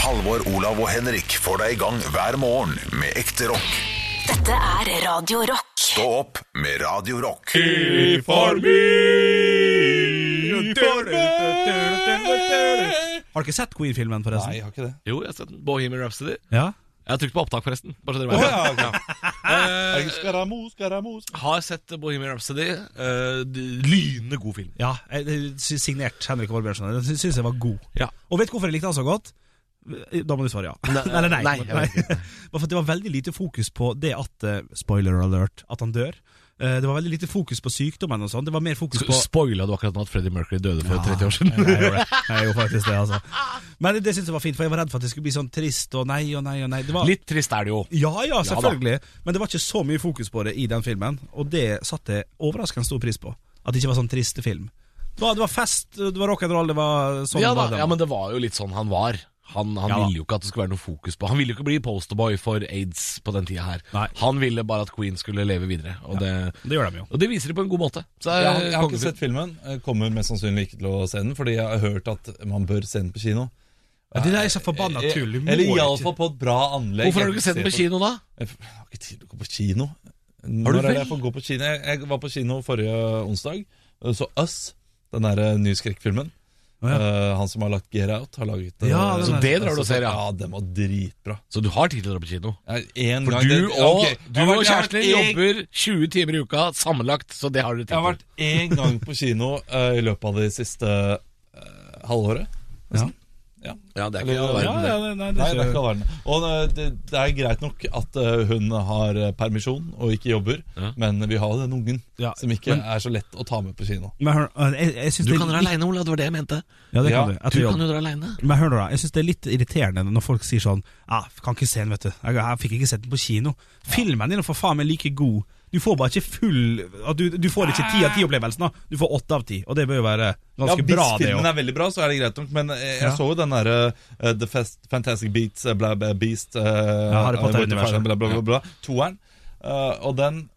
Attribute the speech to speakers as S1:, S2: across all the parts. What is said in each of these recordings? S1: Halvor, Olav og Henrik får deg i gang hver morgen med ekte rock.
S2: Dette er Radio Rock.
S1: Stå opp med Radio Rock.
S3: I forbi
S4: Har du ikke sett Queen-filmen, forresten?
S5: Nei, jeg har ikke det.
S3: Jo, jeg har sett den. Bohemian Rhapsody.
S4: Ja?
S3: Jeg har trykt på opptak, forresten. Bare så dere vet det.
S5: Er det Skaramos, Skaramos
S3: Har sett Bohemian Rhapsody. Eh, d- lynende god film.
S4: ja eh, jeg- jeg sy- signert Henrik Vårbjørnsen. Den sy- syns jeg var god.
S3: Ja.
S4: Og vet du hvorfor jeg likte den så godt? Da må du svare ja. Eller nei.
S3: nei, jeg vet
S4: Bare for at det var veldig lite fokus på det at eh, Spoiler alert at han dør. Eh, Det var veldig lite fokus på sykdommen og sånn. Det var mer fokus på
S3: Spoila du akkurat nå at Freddie Mercury døde for 30 år siden?
S4: Nei, jeg gjorde det. Jeg gjorde faktisk det, altså. Men det, det syntes jeg var fint, for jeg var redd for at det skulle bli sånn trist og nei og nei og nei. Det var,
S3: Litt trist er det jo.
S4: Ja, ja, selvfølgelig. Men det var ikke så mye fokus på det i den filmen, og det satte jeg overraskende stor pris på. At det ikke var sånn triste film. Det var, det var fest, det var rock'n'roll, det var sånn
S3: ja, da,
S4: var det.
S3: ja, men det var jo litt sånn han var. Han, han
S4: Ja, da.
S3: ville jo ikke at det skulle være noe fokus på Han ville jo ikke bli posterboy for aids på den tida her.
S4: Nei.
S3: Han ville bare at Queen skulle leve videre, og, det,
S4: Det gjør de jo.
S3: og det viser de på en god måte. Så,
S5: Jeg har, jeg har
S3: kongefilm.
S5: ikke sett filmen. Jeg kommer mest sannsynlig ikke til å se den, fordi jeg har hørt at man bør se den på kino.
S4: Ja, det der er så
S5: Eh,
S4: forbanna tull. Du må
S5: Eller
S4: ikke-
S5: iallfall på et bra anlegg.
S3: Hvorfor har du ikke sett den på kino, da?
S5: Jeg har ikke tid til å gå på kino. Når er det
S3: vel?
S5: jeg får gå på kino? Jeg, jeg var på kino forrige onsdag. og Så Us, den der eh, nye skrekkfilmen.
S4: Å, ja.
S5: Eh, han som har lagt Get Out, har laget eh,
S4: Ja, den
S3: Så
S4: er-
S3: det drar du og ser, ja.
S5: Ja, den var dritbra.
S3: Så du har tid til å dra på kino?
S5: Jeg, en
S3: For
S5: gang
S3: du
S5: det- ja,
S3: og,
S5: ok.
S3: du og
S5: Jeg har vært- jeg har vært
S3: kjæresten din
S5: en-
S3: jobber 20 timer i uka sammenlagt, så det har dere tid
S5: Jeg har vært én gang på kino eh, i løpet av det siste eh, halvåret. nesten. Ja.
S3: Ja, det
S5: ikke all
S4: ja, ja, nei, det
S5: Nei,
S4: er
S5: det er ikke
S4: ikke
S5: all verden. Og eh, det, det er greit nok at eh, hun har eh, permisjon og ikke jobber,
S3: Ja.
S5: men vi har jo den ungen
S4: Ja,
S5: som ikke
S4: men-
S5: er så lett å ta med på kino.
S4: men hør, eh, jeg, jeg synes
S3: Du
S4: det er
S3: kan dra
S4: litt-
S3: aleine, Ola. Det var det jeg mente.
S4: Ja, det
S5: Ja,
S4: kan
S3: Du
S4: du. Etter
S3: kan
S4: jobb.
S3: jo dra aleine.
S4: Men hør nå, da. Jeg syns det er litt irriterende når folk sier sånn ah, 'Kan ikke se den, vet du. Jeg, jeg fikk ikke sett den på kino.' Filmen din er for faen meg like god. Du får bare ikke full at Du, du får ikke ti av ti-opplevelsen. da Du får åtte av ti, og det bør jo være
S5: Ja,
S4: ganske
S5: Hvis
S4: bra, det
S5: filmen
S4: òg.
S5: er veldig bra, så er det greit nok, men eh, jeg
S4: Ja.
S5: så jo den derre eh, The Fast, Fantastic Beats, eh, bla, bla, Beast eh,
S4: Harry Potter-universet.
S5: eh, Bla, bla, bla, bla, toeren. Eh, og den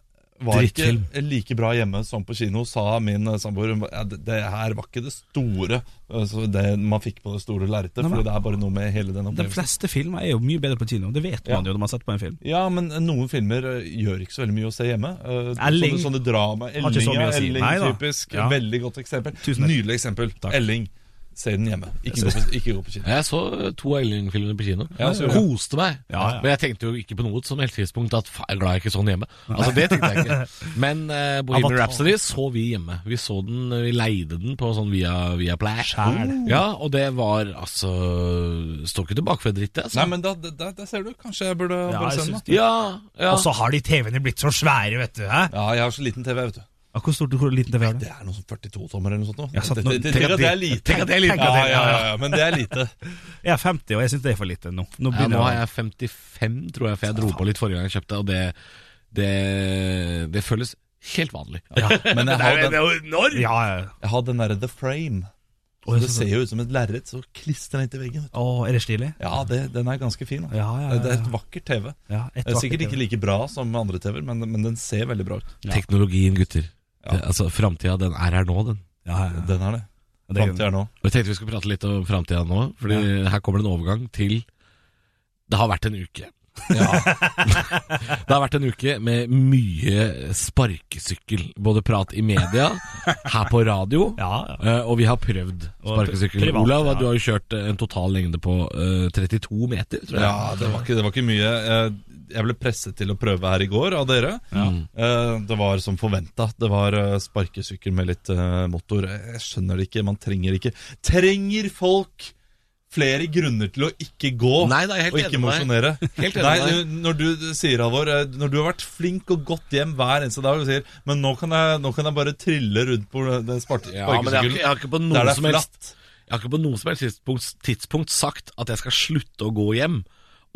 S5: var
S3: Drittfilm.
S5: ikke like bra hjemme som på kino, sa min eh, samboer. Hun ba- Ja, det, det her var ikke det store eh, så det man fikk på det store lerretet,
S4: Nei, men-
S5: for det er bare noe med hele den
S4: De
S5: opplevelsen.
S4: fleste filmer er jo mye bedre på kino. Det vet
S5: Ja.
S4: man jo når man har sett på en film.
S5: Ja, men noen filmer eh, gjør ikke så veldig mye å se hjemme. Eh,
S4: Elling.
S5: Sånne, sånne drama.
S4: Har ikke
S5: Elling,
S4: så mye
S5: ja,
S4: å si.
S5: Elling
S4: Nei da.
S5: typisk.
S4: Ja.
S5: Veldig godt eksempel.
S4: Tusen takk.
S5: Nydelig eksempel. Elling. Se den hjemme. Ikke gå på, ikke gå på kino.
S3: Jeg så to Eiling-filmer på kino.
S5: Ja, så-
S3: Koste meg.
S4: Ja, ja.
S3: Men jeg tenkte jo ikke på noe som helst tidspunkt at faen, jeg er glad jeg ikke så den hjemme. Altså Det tenkte jeg ikke. Men eh, Bohemian
S4: Avatar.
S3: Rhapsody så vi hjemme. Vi så den, eh, vi leide den på sånn via, via Play. Ja, og det var altså Står ikke tilbake for dritt, det. Altså.
S5: Nei, men da, da, der ser du. Kanskje jeg burde
S4: Ja,
S5: bare
S4: jeg
S5: se den.
S4: syns
S5: da.
S3: Ja, ja.
S4: Og så har de TV-ene blitt så svære, vet du. Hæ?
S5: Ja, jeg har så liten TV, vet du.
S4: Ja, hvor stort hvor liten TV er
S5: Det
S4: det?
S5: er noe sånn 42-tommer eller noe sånt. nå.
S4: Ja, sånn sant,
S5: Det-
S4: nå-
S5: det-
S4: tenk
S5: det- tenk
S4: at
S5: at det er
S4: det-
S5: lite.
S4: tenk at det er lite.
S5: Ja, ja, ja,
S4: Ja,
S5: ja, men det er lite.
S4: Jeg er 50, og jeg syns det er for lite nå. Nå
S3: Ja, nå
S4: begynner
S3: har
S4: jeg
S3: jeg 55, tror jeg, for jeg dro på litt forrige gang jeg kjøpte, og det, det, det føles helt vanlig.
S5: Men jeg har den,
S3: jo enormt!
S4: Ja, ja. ja.
S5: jeg har den derre The Frame.
S4: Å,
S5: Det
S4: jeg
S5: ser
S4: synes-
S5: jo ut som et lerret, så klistrer den til veggen. vet du.
S4: Å, er det stilig?
S5: Ja, det, den er ganske fin. Da.
S4: Ja, ja, ja,
S5: Det er et
S4: ja.
S5: vakkert TV.
S4: ja et
S5: Det er sikkert
S4: vakkert
S5: ikke
S4: TV.
S5: like bra som andre TV-er, men, men den ser veldig bra ut.
S3: Teknologien, gutter.
S5: Ja.
S3: Det, altså, Framtida, den er her nå, den.
S4: ja, ja, ja.
S5: Den er det.
S4: Det er-
S5: Framtida er nå.
S3: Og Jeg tenkte vi skulle prate litt om framtida nå, Fordi her kommer det en overgang til Det har vært en uke. det har vært en uke med mye sparkesykkel. Både prat i media, her på radio,
S4: Ja, ja.
S3: Eh, og vi har prøvd sparkesykkel.
S4: privat,
S3: Olav,
S4: ja.
S3: du har jo kjørt eh, en total lengde på eh, 32 meter, tror jeg.
S5: Ja, det var, ikke, det var ikke mye. Eh, Jeg ble presset til å prøve her i går av dere. Eh, Det var som forventa. Det var eh, sparkesykkel med litt eh, motor. Jeg skjønner det ikke. Man trenger ikke Trenger folk flere grunner til å ikke gå
S3: Nei, da, jeg er helt
S5: og
S3: enig
S5: ikke
S3: med
S5: mosjonere?
S3: Helt enig
S5: Nei,
S3: med
S5: Når du sier, Alvor, eh, når du har vært flink og gått hjem hver eneste dag og sier Men nå kan jeg, nå kan jeg bare trille rundt på den spar-
S3: Ja, men jeg har, ikke, jeg,
S5: sparkesykkelen.
S3: har ikke på
S5: Der
S3: noe
S5: det er
S3: som helst,
S5: flatt.
S3: jeg har ikke på noe som helst tidspunkt, tidspunkt sagt at jeg skal slutte å gå hjem.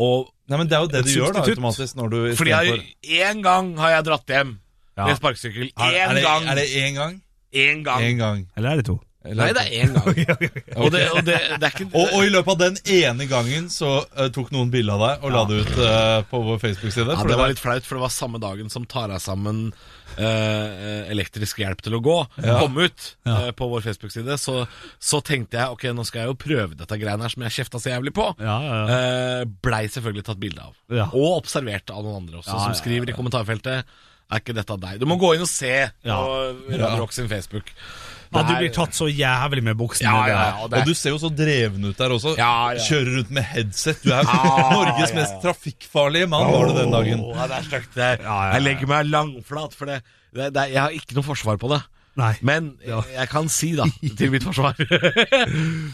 S3: Og,
S5: Nei, men det er jo det du gjør da,
S4: Substitutt.
S5: automatisk. Når du,
S3: fordi
S5: istedenfor-
S3: jeg én gang har jeg dratt hjem
S4: Ja.
S3: med sparkesykkel.
S5: er, er
S3: Én
S5: det-
S3: gang!
S5: Er det én gang?
S3: Én gang!
S5: Én gang.
S4: Eller er det to?
S5: Eller-
S3: Nei, det er én gang. Og, det, og det, det er ikke
S5: og, og i løpet av den ene gangen så eh, tok noen bilde av deg og la det ut eh, på vår Facebook-side.
S3: Ja,
S5: for
S3: det
S5: det
S3: var litt flaut, for det var samme dagen som tar deg sammen eh, elektrisk hjelp til å gå, kom ut eh, på vår Facebook-side, så, så tenkte jeg ok, nå skal jeg jo prøve dette greiene her som jeg kjefta så jævlig på.
S4: Ja, ja, ja.
S3: Eh, blei selvfølgelig tatt bilde av.
S4: Ja.
S3: Og observert av noen andre også,
S4: Ja, ja,
S3: som
S4: ja,
S3: skriver i kommentarfeltet er ikke dette deg? Du må gå inn og se
S4: Ja.
S3: på Radio Rock sin Facebook.
S4: Ja, du
S3: Det er-
S4: blir tatt så jævlig med buksene.
S3: ja, ja, ja, det er-
S5: Og du ser jo så dreven ut der også.
S3: Ja, ja.
S5: Kjører rundt med headset. Du er
S3: Ja,
S5: Norges
S3: ja, ja.
S5: mest trafikkfarlige mann, var du den dagen.
S3: Åh, det er stygt. Det er- Jeg legger meg langflat, for det, det, det, jeg har ikke noe forsvar på det.
S4: Nei.
S3: Men jeg kan si, da, til mitt forsvar,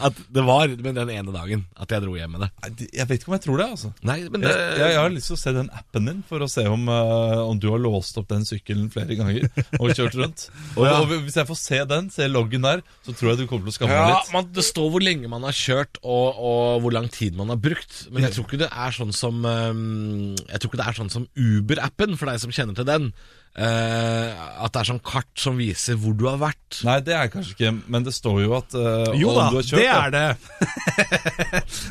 S3: at det var med den ene dagen at jeg dro hjem med det.
S5: Nei, det- Jeg vet ikke om jeg tror det, altså.
S3: Nei, men det
S5: Jeg, jeg, jeg har lyst til å se den appen din for å se om, eh, om du har låst opp den sykkelen flere ganger og kjørt rundt. Og, og Hvis jeg får se den, se loggen der, så tror jeg du kommer til å skamme deg
S3: ja,
S5: litt.
S3: man, Det står hvor lenge man har kjørt og, og hvor lang tid man har brukt. Men jeg tror ikke det er sånn som eh, Jeg tror ikke det er sånn som Uber-appen, for deg som kjenner til den. eh, at det er sånn kart som viser hvor du har vært.
S5: Nei, det er kanskje ikke Men det står jo at eh,
S4: Jo
S5: om
S4: da,
S5: du har kjørt,
S4: det er det.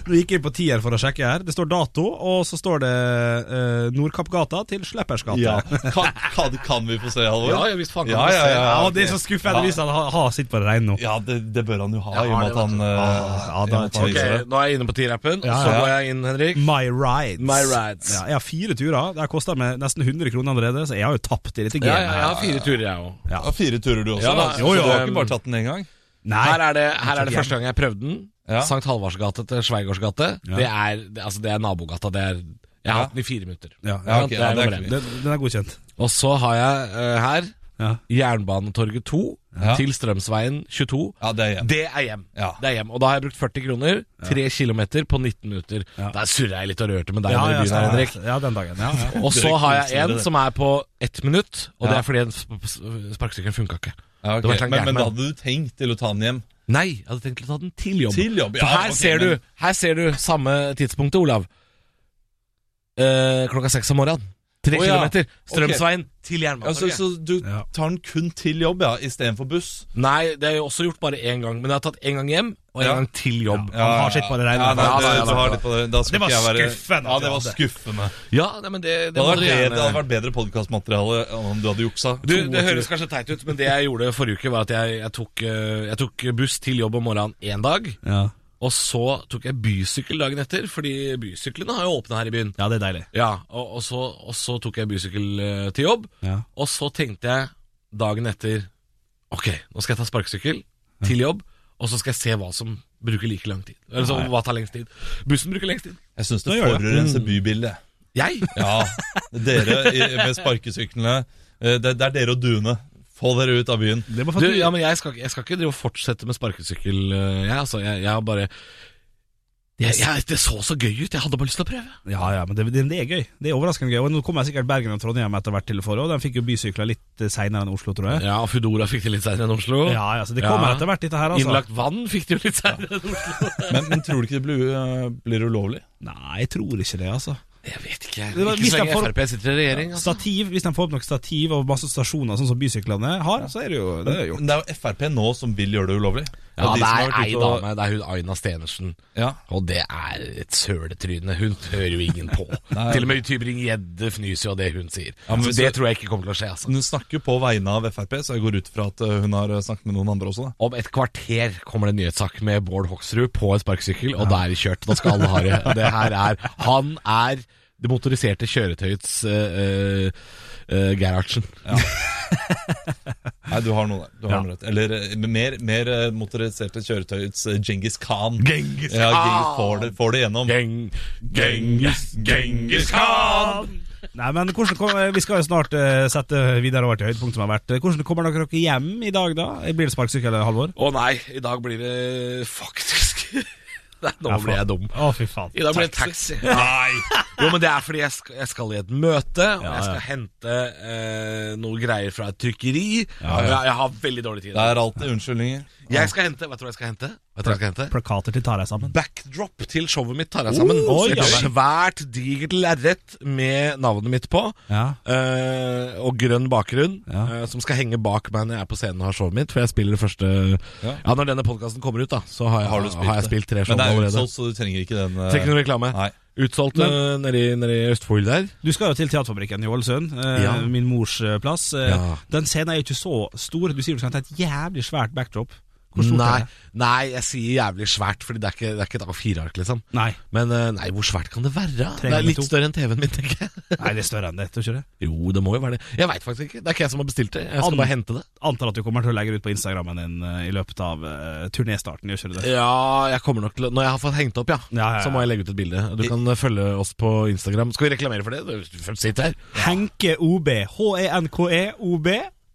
S4: Nå gikk jeg inn på tier for å sjekke her. Det står dato, og så står det eh, Nordkappgata til Sleppersgata.
S5: Ja.
S4: Ja.
S5: Kan, kan, kan vi få se, Halvor?
S3: Ja, ja, visst faen kan
S5: ja,
S3: vi
S5: ja,
S3: se.
S5: ja, ja,
S4: og det er så skuffende hvis han har, har sitt på det rene nå.
S5: Ja, det, det bør han jo ha,
S3: Ja,
S5: i og med
S3: det Ah,
S5: at han
S3: vet
S5: eh,
S4: Ja,
S5: i
S4: da
S5: og med at
S4: er
S5: han
S3: Ok,
S5: viser det.
S3: Nå er jeg inne på TIR-appen.
S4: Ja,
S3: Så
S5: ja.
S3: går jeg inn, Henrik.
S4: My rides.
S3: My rides.
S4: Ja, jeg har fire turer. Det har kosta meg nesten 100 kroner allerede, så jeg har jo tapt i dette
S3: Ja,
S4: gamet.
S3: ja, jeg har fire turer, jeg òg.
S5: Ja, Fire turer du også,
S3: Ja,
S5: da.
S3: da.
S5: Så
S3: Jo, jo,
S5: du har
S3: um,
S5: ikke bare tatt den én gang?
S4: Nei.
S3: Her er det, her er det første gang jeg prøvde den.
S5: Ja.
S3: Sankt Halvardsgate til Sveigårdsgate. Det, er, det, altså det er nabogata. Det er, jeg har hatt den i fire minutter.
S4: Ja,
S5: Ja,
S4: ja,
S5: ok,
S3: det er
S5: ja, det
S3: nummer
S5: er
S3: én.
S5: ikke mye.
S4: den, den er godkjent.
S3: Og så har jeg eh, her
S4: Ja.
S3: Jernbanetorget 2
S5: Ja.
S3: til Strømsveien 22.
S5: Ja, det er
S3: Det er hjem.
S5: Ja.
S3: Det er hjem. Og da har jeg brukt 40 kroner, 3 km på 19 minutter. Der surra jeg litt og rørte med deg
S4: Ja,
S3: nede
S4: ja,
S3: i byen her, Henrik.
S4: ja, den dagen. Ja, ja.
S3: Og så
S5: Dere
S3: har
S5: koser
S3: jeg en
S5: dere.
S3: som er på ett minutt, og det
S5: Ja.
S3: er fordi en sp- sp- sparkesykkelen funka ikke.
S5: Ja, ok.
S3: Det var slank
S5: men, men da
S3: Jackman.
S5: hadde du tenkt til å ta den hjem?
S3: Nei, jeg hadde tenkt å ta den til jobb.
S5: Til jobb, ja,
S3: For her,
S5: ok,
S3: ser
S5: men-
S3: du, her ser du samme tidspunktet, Olav. Eh, klokka seks om morgenen. Tre
S5: Å, ja.
S3: kilometer. Strømsveien til
S5: Altså,
S3: Jernbanetorget.
S5: så du
S4: Ja.
S5: tar den kun til jobb, ja, istedenfor buss?
S3: Nei, det har jeg også gjort bare én gang. Men jeg har tatt én gang hjem, og én
S5: Ja.
S3: gang til jobb.
S5: Ja,
S4: har sitt på det
S5: ja,
S4: reine.
S5: ja, nei,
S3: Ja,
S5: det,
S3: ja, ja,
S5: du
S3: ja.
S5: har litt på det. Da skal
S4: Det var
S5: ikke jeg være,
S4: skuffende
S5: Ja,
S4: at du
S5: det var
S4: hadde.
S5: skuffende.
S3: Ja, nei, men det, det,
S5: Det
S3: må
S5: hadde
S3: dere
S5: vært bedre,
S3: gjerne-
S5: det hadde vært bedre podkastmateriale om du hadde juksa.
S3: Du, det høres kanskje teit ut, men det jeg gjorde forrige uke, var at jeg, jeg, tok, eh, jeg tok buss til jobb om morgenen én dag.
S4: Ja.
S3: Og så tok jeg bysykkel dagen etter, fordi bysyklene har jo åpna her i byen.
S4: ja, det er deilig.
S3: Ja, og, og, så, og så tok jeg bysykkel eh, til jobb,
S4: Ja.
S3: og så tenkte jeg dagen etter Ok, nå skal jeg ta sparkesykkel til jobb, og så skal jeg se hva som bruker like lang tid. Eller så, hva tar lengst tid. Bussen bruker lengst tid.
S5: Jeg syns
S4: Nå
S5: det
S4: gjør det. Mm.
S5: forurenser bybildet.
S3: Jeg?
S5: Ja, dere i- med sparkesyklene. eh, Det, det er dere og duene. Få dere ut av byen.
S4: Det var
S3: Du,
S4: for at du,
S3: ja, men jeg skal, ikke- jeg skal ikke drive og fortsette med sparkesykkel, eh, jeg. Altså, jeg, jeg har bare jeg, jeg, Det så så gøy ut, jeg hadde bare lyst til å prøve.
S4: ja, ja, men det, det, det er gøy. Det er overraskende gøy. Og Nå kommer sikkert Bergen og Trondheim etter hvert til for, og de fikk jo bysykler litt seinere enn Oslo, tror jeg.
S3: Ja, Foodora fikk det litt seinere enn Oslo.
S4: Ja, ja, så det kommer
S3: Ja.
S4: etter hvert, dette her, altså.
S3: Innlagt vann fikk de jo litt seinere enn Oslo.
S5: Men, men tror du ikke det blir, eh, blir ulovlig?
S4: Nei, jeg tror ikke det, altså.
S3: Jeg vet ikke.
S4: Det var-
S3: Ikke
S4: hvis
S3: så
S4: jeg
S3: lenge
S4: får-
S3: Frp sitter i regjering. Altså.
S4: Stativ, Hvis de får opp nok stativ og masse stasjoner, sånn som bysyklene har, så er det jo det er gjort.
S5: Men det er jo Frp nå som vil gjøre det ulovlig.
S3: Ja,
S5: Og de
S3: det
S5: som har
S3: er
S5: vært
S3: ei
S5: ute og-
S3: dame, det er hun Aina Stenersen.
S5: Ja.
S3: Og det er et søletryne. Hun hører jo ingen på. Til og med Tybring-Gjedde fnyser jo av det hun sier.
S5: Ja, men
S3: så
S5: så-
S3: det tror jeg ikke kommer til å skje. Altså.
S5: Hun snakker jo på vegne av Frp, så jeg går ut fra at eh, hun har eh, snakket med noen andre også. da
S3: Om et kvarter kommer det en nyhetssak med Bård Hoksrud på en sparkesykkel, og da er det kjørt. Da skal alle ha det. det her er, han er det motoriserte kjøretøyets uh, Gerhardsen.
S5: Nei, du har noe der. Du har
S4: Ja.
S5: noe rett. Eller eh, mer, mer eh, motoriserte kjøretøyets eh, Genghis Khan.
S3: Genghis
S5: Ja, Genghis
S3: Khan!
S5: får det, får det gjennom.
S3: Geng, Genghis, Genghis Khan!
S4: Nei, men hvordan kom, Vi skal jo snart eh, sette videre over til høydepunktet som har vært. Hvordan kommer dere dere hjem i dag, da? Blir det sparkesykkel, Halvor?
S3: Å nei, i dag blir det faktisk Nei, nå ble jeg dum.
S4: Å, fy faen.
S3: I dag blir det taxi. Nei Jo, men det er fordi jeg skal, jeg skal i et møte, og jeg skal hente eh, noe greier fra et trykkeri. Og Jeg, jeg har veldig dårlig tid.
S5: Det er alltid unnskyldninger.
S3: Jeg skal hente, Vet du hva jeg skal hente? Vet du hva jeg skal hente?
S4: Plakater til Tarjei sammen.
S3: Backdrop til showet mitt tar jeg sammen.
S4: Oh,
S3: Et
S4: ja vel.
S3: svært digert lerret med navnet mitt på.
S4: Ja.
S3: eh, og grønn bakgrunn,
S4: Ja.
S3: eh, som skal henge bak meg når jeg er på scenen og har showet mitt. For jeg spiller det første Ja,
S5: Ja.
S3: Når denne podkasten kommer ut, da, så har jeg,
S5: Har
S3: har
S5: du spilt
S3: jeg
S5: det?
S3: spilt tre show
S5: Men det er
S3: allerede.
S5: utsolgt, så du trenger ikke den. eh,
S3: Trenger ikke noe reklame.
S5: Nei.
S3: Utsolgt eh, nedi, nedi Østfold der.
S4: Du skal jo til Teaterfabrikken i Ålesund, eh,
S3: Ja.
S4: min mors eh, plass. Eh,
S3: Ja.
S4: Den scenen er jo ikke så stor. Du sier du skal hente et jævlig svært backdrop. Hvor stort
S3: nei,
S4: er det?
S3: nei, jeg sier jævlig svært, Fordi det er ikke, det er ikke et A4-ark, liksom.
S4: Nei.
S3: Men eh, nei, hvor svært kan det være?
S4: Tre
S3: Det er
S4: ganger
S3: litt
S4: to.
S3: større enn TV-en min, tenker jeg.
S4: nei, det er større enn det. Tror ikke det?
S3: Jo, det må jo være det. Jeg veit faktisk ikke. Det er ikke jeg som har bestilt det. Jeg skal
S4: An-
S3: bare hente det.
S4: Antar at du kommer til å legge det ut på Instagrammen din eh, i løpet av eh, turnéstarten, gjør ikke du det?
S3: Ja, jeg kommer nok til å- Når jeg har fått hengt opp, ja,
S4: Ja, ja, ja.
S3: så må jeg legge ut et bilde. Du kan eh, følge oss på Instagram. Skal vi reklamere for det? Du først sitter her.
S4: Henke OB. E H-e-n-k-e OB.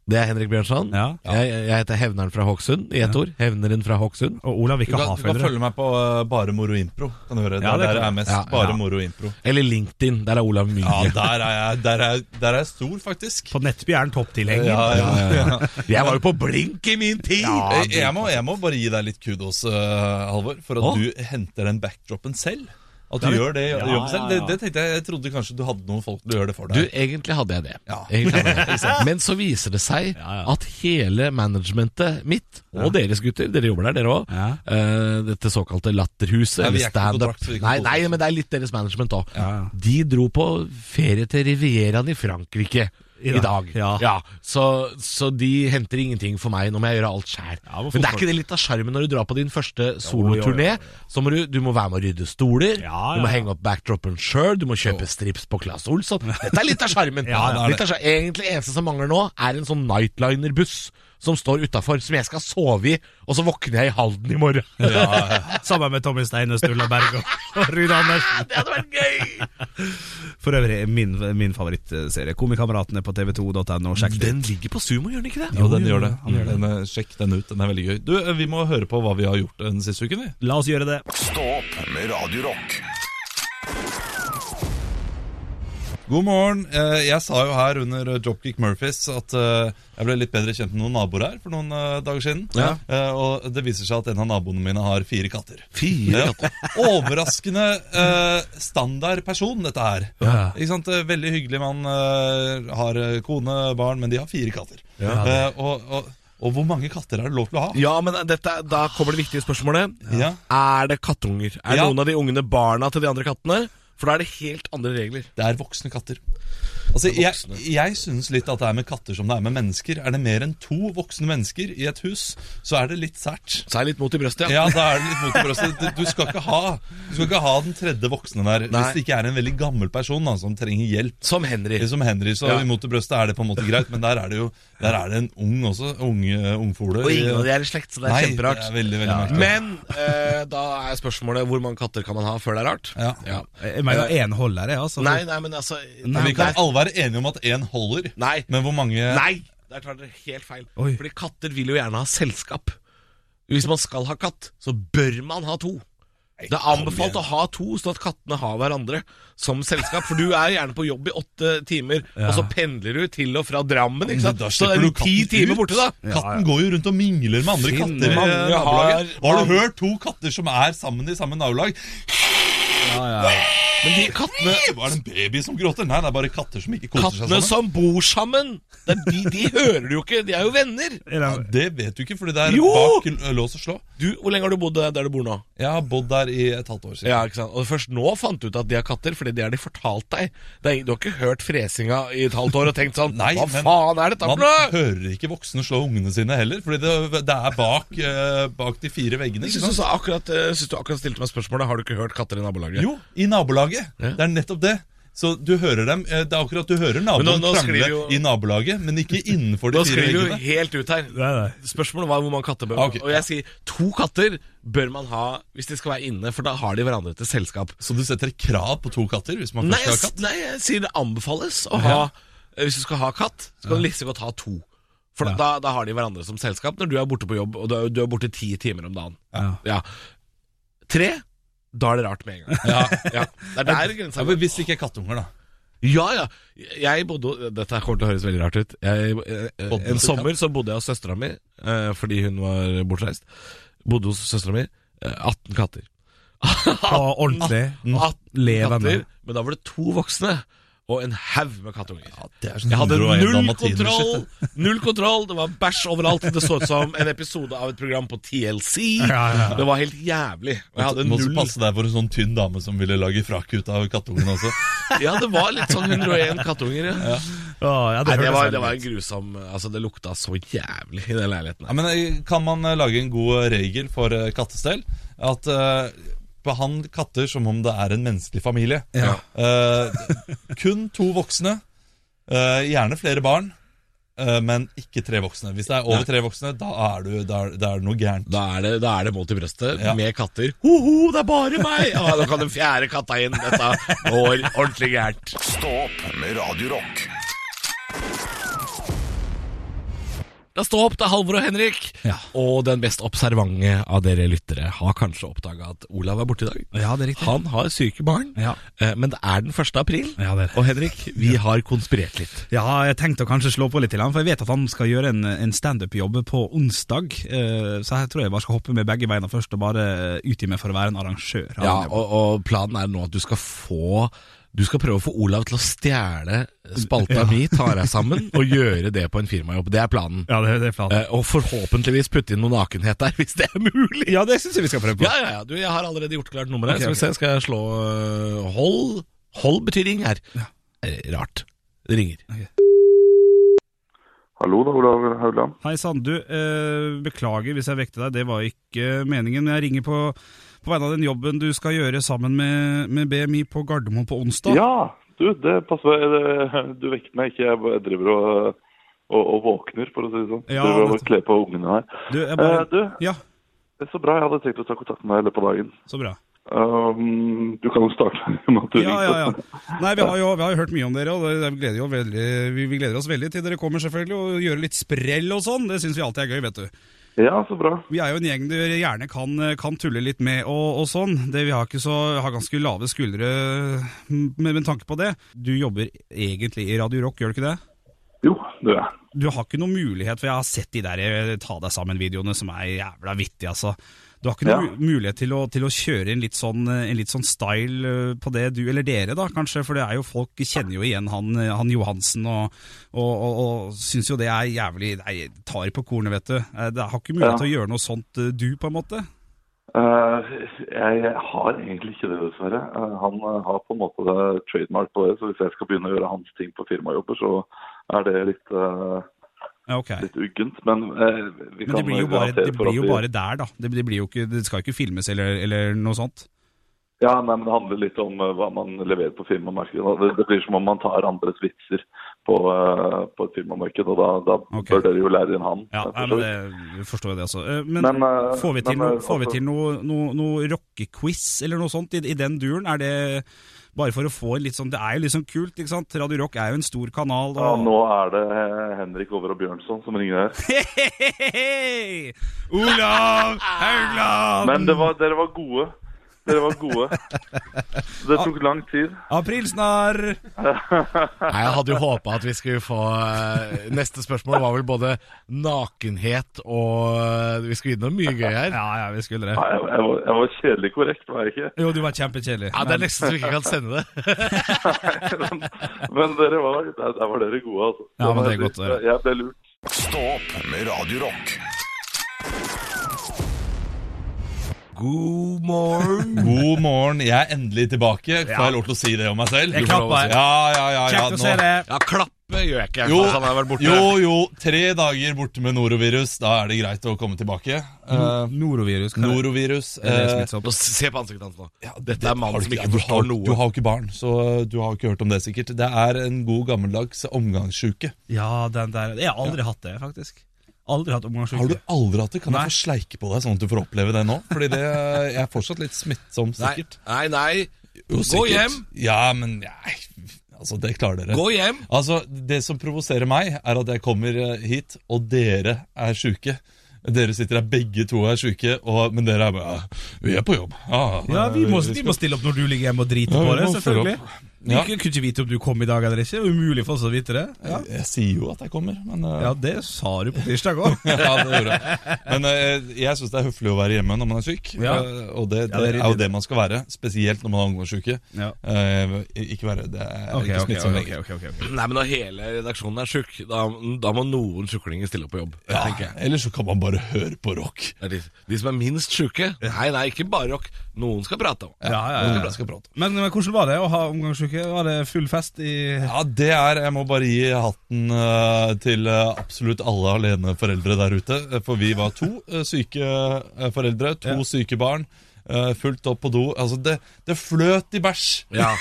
S3: Det er Henrik Bjørnson.
S4: Ja.
S3: Jeg, jeg heter Hevneren fra Hokksund i ett ord. Hevneren fra Hokksund.
S4: Og Olav vil
S5: Du
S4: ikke
S5: kan,
S4: ha
S5: du kan
S4: følgere.
S5: følge meg på eh, Bare Moro Impro. Kan du høre,
S4: Ja,
S5: der,
S4: det
S5: der
S4: kan
S5: er mest
S3: Ja,
S5: Bare
S3: ja.
S5: Moro Impro.
S3: Eller LinkedIn. Der er Olav Mye.
S5: Ja, der er jeg, der er, der er jeg stor, faktisk.
S4: På Nettbjørn topptilhenger.
S5: Ja, ja, ja.
S3: Jeg var jo på blink i min tid!
S5: Jeg, jeg, må, jeg må bare gi deg litt kudos, eh, Halvor, for at
S3: Å?
S5: du henter den backdropen selv. At
S4: Ja,
S5: du
S4: det-
S5: gjør det
S4: Ja,
S5: jobben selv. Det,
S4: ja, ja.
S5: det tenkte Jeg jeg trodde kanskje du hadde noen folk til å gjøre det for
S3: Du,
S5: deg.
S3: egentlig hadde jeg det.
S5: Ja.
S3: Egentlig hadde jeg det. Men så viser det seg
S4: Ja, ja.
S3: at hele managementet mitt, og deres gutter, dere jobber der, dere òg,
S4: Ja.
S3: dette såkalte Latterhuset,
S5: Nei,
S3: eller
S5: vi er ikke på
S3: standup
S5: kontrakt, så vi kan
S3: nei,
S5: holde
S3: nei,
S5: oss.
S3: men det er litt deres management òg.
S4: Ja, ja.
S3: De dro på ferie til Rivieraen i Frankrike. I
S4: Ja.
S3: dag.
S4: Ja.
S3: så, så de henter ingenting for meg. Nå må jeg gjøre alt sjæl.
S4: Ja, hvorfor
S3: Men det er
S4: folk-
S3: ikke det litt av sjarmen når du drar på din første
S4: jo, jo,
S3: soloturné? Så må du, du må være med å rydde stoler,
S4: Ja,
S3: du
S4: ja,
S3: må
S4: ja.
S3: henge opp backdropen sjøl, du må kjøpe strips på Claes Olsson. Dette er litt av sjarmen.
S4: Ja, det er det.
S3: Litt av sjar- Egentlig eneste som mangler nå, er en sånn nightliner-buss som står utafor, som jeg skal sove i, og så våkner jeg i Halden i morgen.
S4: Sammen med Tommy Steine, Sturla Berg og, og Rude Andersen.
S3: det hadde vært gøy!
S4: For øvrig min, min favorittserie. Komikameratene på tv2.no. Sjekk det.
S3: Den ligger på sumo, gjør den ikke det?
S5: Jo, den gjør det.
S4: han gjør
S5: Den, eh, sjekk den ut, den er veldig gøy. Du, eh, Vi må høre på hva vi har gjort eh, den siste uken. vi
S4: La oss gjøre det.
S1: Stå opp med Radio Rock.
S5: God morgen. Eh, Jeg sa jo her under eh, Dropkick Murphys at eh, jeg ble litt bedre kjent med noen naboer her for noen eh, dager siden.
S3: Ja.
S5: Eh, Og det viser seg at en av naboene mine har fire katter.
S3: Fire
S5: Ja. Overraskende eh, standard person, dette her.
S4: Ja.
S5: Ikke sant? Eh, Veldig hyggelig mann. eh, har eh, kone, barn, men de har fire katter.
S4: Ja.
S5: Eh, og, og, og hvor mange katter er det lov til å ha?
S3: Ja, men dette, da kommer det viktige spørsmålet.
S5: Ja.
S3: Er det kattunger? Er
S5: Ja.
S3: noen av de ungene barna til de andre kattene? For da er det helt andre regler.
S5: Det er voksne katter. Altså,
S3: Det er
S5: jeg,
S3: voksne.
S5: jeg synes litt at det er med katter som det er med mennesker. Er det mer enn to voksne mennesker i et hus, så er det litt sært.
S3: Så er det litt mot i brøstet, ja.
S5: Ja, da er det litt mot i brøstet. Du, du, skal ikke ha, du skal ikke ha den tredje voksne
S3: Nei.
S5: der hvis det ikke er en veldig gammel person da, som trenger hjelp.
S3: Som Henry.
S5: Som Henry, så
S3: Ja.
S5: imot i brøstet er det på en måte greit, men der er det jo Der er det en ung også. Unge, eh, ungfole.
S3: Og ingen av de er i slekt, så det er
S5: Nei,
S3: kjemperart.
S5: det er veldig, veldig merkelig.
S3: Men eh, da er spørsmålet hvor mange katter kan man ha før det er rart?
S5: Ja.
S3: Ja.
S4: Jeg mener én holder, jeg, altså.
S3: Nei, nei, men altså
S5: Men
S3: Nei,
S5: vi kan
S3: nei,
S5: alle være enige om at én holder,
S3: Nei.
S5: men hvor mange
S3: nei der tar dere helt feil.
S4: Oi.
S3: Fordi katter vil jo gjerne ha selskap. Hvis man skal ha katt, så bør man ha to. Det er anbefalt å ha to, sånn at kattene har hverandre som selskap. For du er gjerne på jobb i åtte timer, og så pendler du til og fra Drammen. Ikke sant?
S5: Da
S3: Så er
S5: slipper
S3: du
S5: du
S3: ti
S5: katten
S3: timer
S5: ut.
S3: borte, da.
S5: Katten går jo rundt og mingler med andre
S4: Finn,
S5: katter. i
S3: mange
S5: nabolaget.
S3: har-
S5: Og Har du hørt to katter som er sammen i samme nabolag?
S4: Ja, ja.
S3: Men de kattene,
S5: Var det en baby som gråter? Nei, det er bare katter som ikke koser
S3: kattene
S5: seg sammen.
S3: som bor sammen, det er de, de hører du jo ikke. De er jo venner.
S4: Er det-
S5: Det vet du ikke, fordi det er
S3: Jo!
S5: bak l- lås og slå.
S3: Du, hvor lenge har du bodd der- der du bor nå?
S5: Jeg har bodd der i et halvt år siden.
S3: Ja, ikke sant? Og først nå fant du ut at de har katter, fordi det har de fortalt deg. Det er, du har ikke hørt fresinga i et halvt år og tenkt sånn
S5: Nei,
S3: Hva
S5: men
S3: faen er dette for
S5: Man
S3: noe?!
S5: hører ikke voksne slå ungene sine heller, fordi det, det er bak, eh, bak de fire veggene.
S3: Jeg
S5: Ikke
S3: syns du,
S5: sant?
S3: sa akkurat, eh, synes du akkurat stilte meg spørsmålet Har du ikke hørt katter i nabolaget.
S5: Jo, i nabolaget.
S3: Ja.
S5: Det er nettopp det. Så du hører dem eh, Det er akkurat du hører
S3: nå-
S5: naboen
S3: nå sklir
S5: krangle
S3: vi jo-
S5: i nabolaget, men ikke innenfor de
S3: Nå
S5: fire
S3: skriver vi jo
S5: veggene.
S3: helt ut her.
S4: Nei, nei.
S3: Spørsmålet var hvor mange katter bør
S5: Ah, ok.
S3: Og jeg sier to katter bør man ha hvis de skal være inne, for da har de hverandre til selskap.
S5: Så du setter krav på to katter hvis man
S3: Nei,
S5: først
S3: jeg,
S5: skal ha katt?
S3: nei, jeg sier det anbefales å ha eh, Hvis du skal ha katt, så kan du like så godt ha to. For da, da har de hverandre som selskap når du er borte på jobb, og du er, du er borte ti timer om dagen.
S4: Ja.
S3: Ja. Tre, da er det rart med en gang. Ja, Det er der grensa
S5: Ja,
S3: går.
S5: men hvis det ikke er kattunger, da.
S3: Ja, ja. Jeg bodde Dette her kommer til å høres veldig rart ut. Jeg, eh,
S5: Bodde
S3: en
S5: du-
S3: sommer så bodde jeg hos søstera mi, eh, fordi hun var bortreist. Bodde hos søstera mi. eh, 18 katter.
S4: Og ordentlig.
S3: 18
S4: Levende.
S3: katter, men da var det to voksne og en haug med kattunger.
S5: Det er sånn
S3: Jeg hadde
S5: 101
S3: null
S5: dalmatiner,
S3: kontroll,
S5: shit.
S3: null kontroll, det var bæsj overalt. Det så ut som en episode av et program på TLC.
S4: ja,
S3: Det var helt jævlig. Og jeg hadde
S5: Må også
S3: null
S5: passe deg for en sånn tynn dame som ville lage frakk ut av kattungen også.
S3: Ja, det var litt sånn 101 kattunger, ja.
S4: Å, ja,
S3: Nei, det
S4: hørtes
S3: var,
S4: veldig
S3: det var en
S4: ut.
S3: grusom Altså, det lukta så jævlig i den leiligheten.
S5: Ja,
S3: her.
S5: men eh, Kan man eh, lage en god regel for eh, kattestell? At eh, Behandl katter som om det er en menneskelig familie.
S4: Ja.
S5: Eh, kun to voksne, eh, gjerne flere barn, eh, men ikke tre voksne. Hvis det er over tre voksne, da er, du, da er, da er det noe gærent.
S3: Da er det, da er det mål til brøstet
S5: Ja.
S3: med katter. Ho-ho, det er bare meg! Ja, nå kan den fjerde katta inn. Dette går ordentlig gærent.
S1: Stå opp med Radio Rock.
S3: Da stå opp, det er Halvor og Henrik.
S4: Ja.
S3: Og den mest observante av dere lyttere har kanskje oppdaga at Olav er borte i dag.
S4: Ja, det er riktig.
S3: Han har syke barn,
S4: Ja.
S3: eh, men det er den 1. april.
S4: Ja, det er det.
S3: Og Henrik, vi har konspirert litt.
S4: Ja, jeg tenkte å kanskje slå på litt til han, for jeg vet at han skal gjøre en, en standup-jobb på onsdag. eh, Så her tror jeg bare skal hoppe med begge beina først, og bare utgi meg for å være en arrangør. av
S3: Ja,
S4: den jobben.
S3: og, og planen er nå at du skal få du skal prøve å få Olav til å stjele spalta mi, ta deg sammen, og gjøre det på en firmajobb. Det er planen.
S4: ja det, det er planen.
S3: Eh, og forhåpentligvis putte inn noe nakenhet der, hvis det er mulig.
S4: Ja, det syns jeg vi skal prøve på.
S3: Ja, ja, ja. Du, jeg har allerede gjort klart nummeret.
S4: Ok,
S3: Skal vi se, skal jeg slå eh, Hold. Hold betyr ring her. Eh, Rart. Det ringer.
S6: Hallo, det er Olav Haugland.
S4: Hei sann, du. eh, beklager hvis jeg vekte deg, det var ikke meningen. Jeg ringer på, på vegne av den jobben du skal gjøre sammen med, med BMI på Gardermoen på onsdag.
S6: Ja, du, det passer meg. Det- Du vekket meg ikke. Jeg bare driver og, og, og våkner, for å si det sånn.
S4: Ja,
S6: driver og
S4: nettopp.
S6: kler på ungene her.
S4: Du, jeg
S6: Eh,
S4: bare...
S6: du,
S4: ja,
S6: det er så bra. Jeg hadde tenkt å ta kontakt med deg i løpet av dagen.
S4: så bra.
S6: Um, du kan jo starte med at du
S4: Ja, ja,
S6: ringte.
S4: ja. Nei, vi har jo, vi har jo hørt mye om dere, og det- det gleder jo veldig, vi, vi gleder oss veldig til dere kommer, selvfølgelig, og gjøre litt sprell og sånn. Det syns vi alltid er gøy, vet du.
S6: ja, så bra.
S4: Vi er jo en gjeng du gjerne kan, kan tulle litt med og, og sånn. Det, vi har, ikke så, har ganske lave skuldre med, med tanke på det. Du jobber egentlig i Radio Rock, gjør du ikke det?
S6: Jo, du er
S4: Du har ikke noen mulighet, for jeg har sett de der eh, Ta deg sammen-videoene som er jævla vittige, altså. Du har ikke noen
S6: Ja.
S4: mu- mulighet til å, til å kjøre en litt, sånn, eh, en litt sånn style eh, på det, du eller dere, da, kanskje? For det er jo folk kjenner jo igjen han, eh, han Johansen, og, og, og, og syns jo det er jævlig Nei, tar på kornet, vet du. Eh, Det har ikke mulighet
S6: Ja.
S4: til å gjøre noe sånt eh, du, på en måte.
S6: Eh, jeg har egentlig ikke det, dessverre. Eh, han eh, har på en måte det trademark på det, så hvis jeg skal begynne å gjøre hans ting på firmajobber, så er det litt, eh,
S4: Ja, ok.
S6: litt uggent. Men, eh, vi
S4: Men
S6: kan
S4: det blir jo bare,
S6: garantere
S4: det
S6: for at
S4: blir jo
S6: vi-
S4: bare der, da. Det, det, blir jo ikke, det skal jo ikke filmes eller, eller noe sånt.
S6: Ja, nei, men Det handler litt om eh, hva man leverer på firmamarkedet. da. Det, det blir som om man tar andres vitser på, eh, på et firmamarked, og da, da
S4: Ok.
S6: bør dere jo lære inn han.
S4: Ja,
S6: eh, for
S4: nei,
S6: så
S4: men
S6: vidt.
S4: det, vi forstår jo det også. Eh, Men,
S6: Men, eh,
S4: får vi til,
S6: men, eh,
S4: noe, får vi
S6: altså-
S4: til noe, noe, noe rockequiz eller noe sånt i, i den duren? Er det bare for å få en litt sånn Det er jo litt sånn kult, ikke sant? Radio Rock er jo en stor kanal. Og...
S6: ja, nå er det eh, Henrik Over og Bjørnson som ringer her.
S4: Hei! Olav Haugland!
S6: Men det var, dere var gode. Dere var gode. Det tok lang tid.
S4: Aprilsnarr!
S3: Nei, Jeg hadde jo håpa at vi skulle få eh, Neste spørsmål var vel både nakenhet og eh, Vi skulle innom mye gøy her.
S4: Ja, ja, vi skulle det.
S6: Nei, jeg, jeg, var, jeg var kjedelig korrekt, var jeg ikke?
S4: Jo, du var kjempekjedelig.
S3: Ja, Det er nesten så vi ikke kan sende det.
S6: Men, men dere var, der, der var dere gode, altså.
S4: Ja, men det er
S6: var-
S4: godt å høre.
S6: Jeg ble lurt.
S1: Stå opp med Radio Rock.
S3: God morgen.
S5: God morgen, jeg er endelig tilbake. Får
S4: Ja.
S5: jeg lov til å si det om meg selv?
S4: Jeg
S5: Du får lov
S4: klapper.
S5: til å si- Ja, ja, ja, ja.
S4: Kjekt å se
S5: nå-
S4: deg.
S3: Ja, klappe gjør jeg ikke.
S5: Jo,
S3: han har vært borte.
S5: jo, jo. Tre dager borte med norovirus. Da er det greit å komme tilbake. Eh,
S4: Norovirus. hva er det?
S5: norovirus
S4: Er det
S5: eh,
S4: smittsomt?
S3: Nå, se på ansiktet hans nå.
S5: ja,
S3: Dette er mannen
S5: har du
S3: som ikke
S5: ja, du
S3: forstår
S5: har-
S3: noe.
S5: Du har jo ikke barn, så eh, du har jo ikke hørt om det sikkert. Det er en god gammeldags omgangssjuke.
S4: Ja, den der Jeg har aldri hatt det, faktisk. Aldri hatt omgangssjuke.
S5: Har du aldri hatt det? Kan
S4: Nei.
S5: jeg få sleike på deg, sånn at du får oppleve det nå? Fordi det jeg er fortsatt litt smittsom,
S3: Nei,
S5: sikkert.
S3: nei. nei. Gå
S5: Jo, sikkert.
S3: hjem.
S5: Ja, men nei, altså, det klarer dere.
S3: Gå hjem.
S5: Altså, Det som provoserer meg, er at jeg kommer eh, hit, og dere er sjuke. Dere sitter her begge to og er sjuke, og, men dere er bare ja, «Ah, Vi er på jobb.
S4: Ja, vi må, vi må stille opp når du ligger hjemme og driter på det, selvfølgelig.
S5: Ja.
S4: Vi kunne ikke vite om du kom i dag eller ikke. Det var Umulig for oss å vite det. Ja,
S5: Jeg sier jo at jeg kommer, men eh,
S4: ja det sa du på tirsdag òg.
S5: ja, det gjorde jeg. Men eh, jeg syns det er høflig å være hjemme når man er syk.
S4: Ja.
S5: eh, og det,
S4: Ja,
S5: det,
S4: det er
S5: er,
S4: riktig.
S5: jo det man skal være, spesielt når man er ungdomssyke.
S4: Ja.
S5: Eh, ikke være Det er
S4: Ok,
S5: ikke
S4: ok,
S5: smittsomt
S4: ok,
S5: lenger.
S4: ok, ok, ok.
S3: Nei, men når hele redaksjonen er sjuk, da, da må noen sjuklinger stille opp på jobb. tenker
S5: Ja,
S3: jeg.
S5: Eller så kan man bare høre på rock.
S3: Det er de, de som er minst sjuke. Nei, nei, ikke bare rock. Noen skal prate om.
S4: Ja, ja, ja,
S5: Jeg
S4: ja.
S5: skal prate.
S4: Men, men hvordan var det å ha omgangssyke? Var det full fest i
S5: Ja, det er Jeg må bare gi hatten eh, til eh, absolutt alle aleneforeldre der ute. eh, For vi var to eh, syke eh, foreldre, to syke barn. eh, fullt opp på do. Altså, det, det fløt i bæsj!
S3: Ja.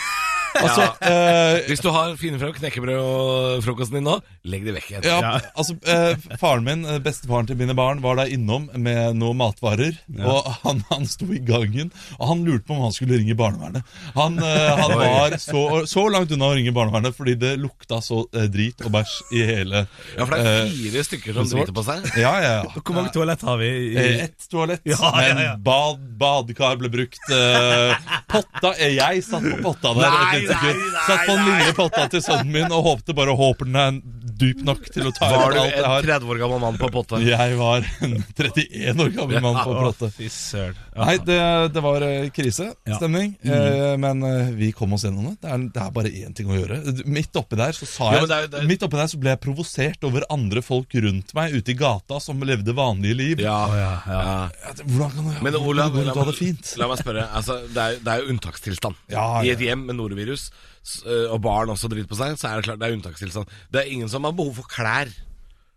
S5: Altså,
S3: ja.
S5: eh,
S3: Hvis du har finner frem knekkebrød og frokosten din nå, legg det vekk igjen.
S5: Ja, altså eh, Faren min, eh, bestefaren til mine barn, var der innom med noen matvarer. Og han, han sto i gangen, og han lurte på om han skulle ringe barnevernet. Han, eh, han var så, så langt unna å ringe barnevernet fordi det lukta så eh, drit og bæsj i hele
S3: Ja, for det er
S5: eh,
S3: fire stykker som
S5: resort.
S3: driter på seg.
S5: Ja, ja, ja.
S4: Hvor mange toalett har vi? I...
S5: Eh, Ett toalett,
S4: Ja, ja, ja.
S5: men bad, badekar ble brukt. eh, potta eh, Jeg satt på potta der.
S3: Nei,
S5: et lite
S3: nei,
S5: sekund.
S3: nei,
S5: satt på den
S3: nei.
S5: lille potta til sønnen min og håpte bare håper den er dyp nok til å ta
S3: Var
S5: ut
S3: du
S5: alt
S3: en
S5: jeg har.
S3: 30 år gammel mann på potta?
S5: Jeg var en 31 år gammel mann på plate.
S4: Fy søren.
S5: Nei, det, det var eh, krisestemning,
S3: Mm.
S5: eh, men eh, vi kom oss gjennom det. Det er, det er bare én ting å gjøre. Midt oppi der så sa
S3: Ja,
S5: jeg
S3: men det er jo- det er-
S5: Midt oppi der så ble jeg provosert over andre folk rundt meg ute i gata som levde vanlige liv.
S3: Ja, ja,
S5: Ja, det- Hvordan kan du
S3: Men Olav,
S5: hvordan
S3: la,
S5: kan du ha det fint?
S3: la meg spørre. Altså, det, er, det er jo unntakstilstand.
S5: Ja, ja.
S3: I et hjem med norovirus s- og barn også driter på seg, så er det klart det er unntakstilstand. Det er ingen som har behov for klær.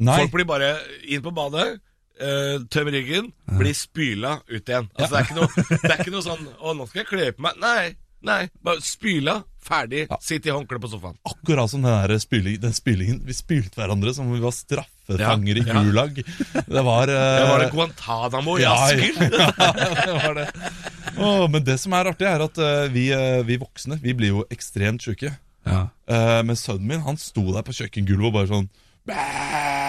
S5: Nei,
S3: Folk blir bare inn på badet. eh, tømmer ryggen, blir spyla ut igjen. Altså, det, er ikke noe, det er ikke noe sånn 'Å, nå skal jeg kle på meg'. Nei. nei bare Spyla, ferdig, sitt i håndkle på sofaen.
S5: akkurat som den, der spyling, den spylingen. Vi spylte hverandre som om vi var straffefanger
S3: Ja, ja.
S5: i Gulag. Det var,
S3: Det
S5: eh,
S3: var det Guantánamo i
S5: Ja,
S3: Asker.
S5: ja, det var det. Åh, men det som er artig, er at eh, vi, eh, vi voksne vi blir jo ekstremt syke.
S4: Ja.
S5: Eh, men sønnen min han sto der på kjøkkengulvet og bare sånn "Bæ!"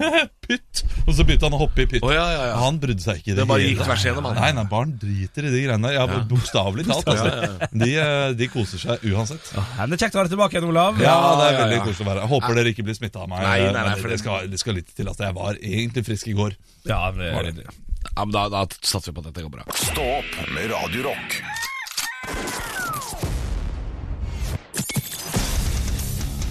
S5: Pytt! Og så begynte han å hoppe i pytt.
S3: Å, ja, ja, ja.
S5: Han brydde seg ikke. i
S3: Det bare
S5: hele
S3: gikk
S5: tatt.
S3: tvers igjennom, han.
S5: Nei, nei, barn driter i de greiene der. Ja, Bokstavelig talt. Altså. De, eh, de koser seg uansett.
S4: Men det er kjekt å ha deg tilbake igjen, Olav.
S5: Ja, det er
S3: ja,
S5: veldig
S3: ja.
S5: koselig å være her. Jeg Håper dere ikke blir smitta av meg. eh,
S3: Nei, nei,
S5: men
S3: nei, for
S5: det,
S3: det-
S5: skal, det skal litt til. Altså, jeg var egentlig frisk i går.
S4: Ja, det,
S5: Var det.
S3: Ja, men da, da satser vi på at dette går bra.
S1: Stå opp med Radio Rock.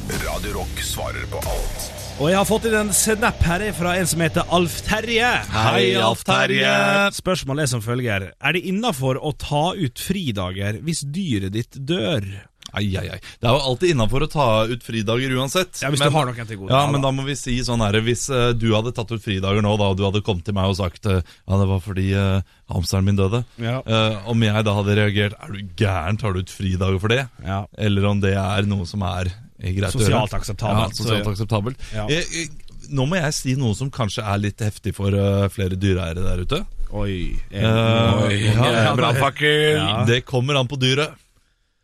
S1: Radio Rock svarer på alt.
S4: Og jeg har fått inn en snap her fra en som heter Alf Terje.
S3: Hei, Alf Terje.
S4: Spørsmålet er som følger. Er det innafor å ta ut fridager hvis dyret ditt dør?
S5: Ai, ai, ai. Det er jo alltid innafor å ta ut fridager uansett.
S4: Ja, Hvis
S5: men,
S4: du har noen til gode.
S5: ja, men da må vi si sånn her Hvis eh, du hadde tatt ut fridager nå, da, og du hadde kommet til meg og sagt eh, Ja, det var fordi eh, hamsteren min døde.
S4: Ja.
S5: Eh, om jeg da hadde reagert Er du gæren, tar du ut fridager for det?
S4: Ja.
S5: Eller om det er noe som er eh, greit
S4: Sosialt
S5: å gjøre.
S4: akseptabelt.
S5: Ja, sosialt akseptabelt.
S4: Ja.
S5: Eh, eh, nå må jeg si noe som kanskje er litt heftig for eh, flere dyreeiere der ute.
S4: Oi. eh,
S5: Eh,
S3: Oi, ja, Brannfakkel.
S4: Ja.
S5: Det kommer an på dyret.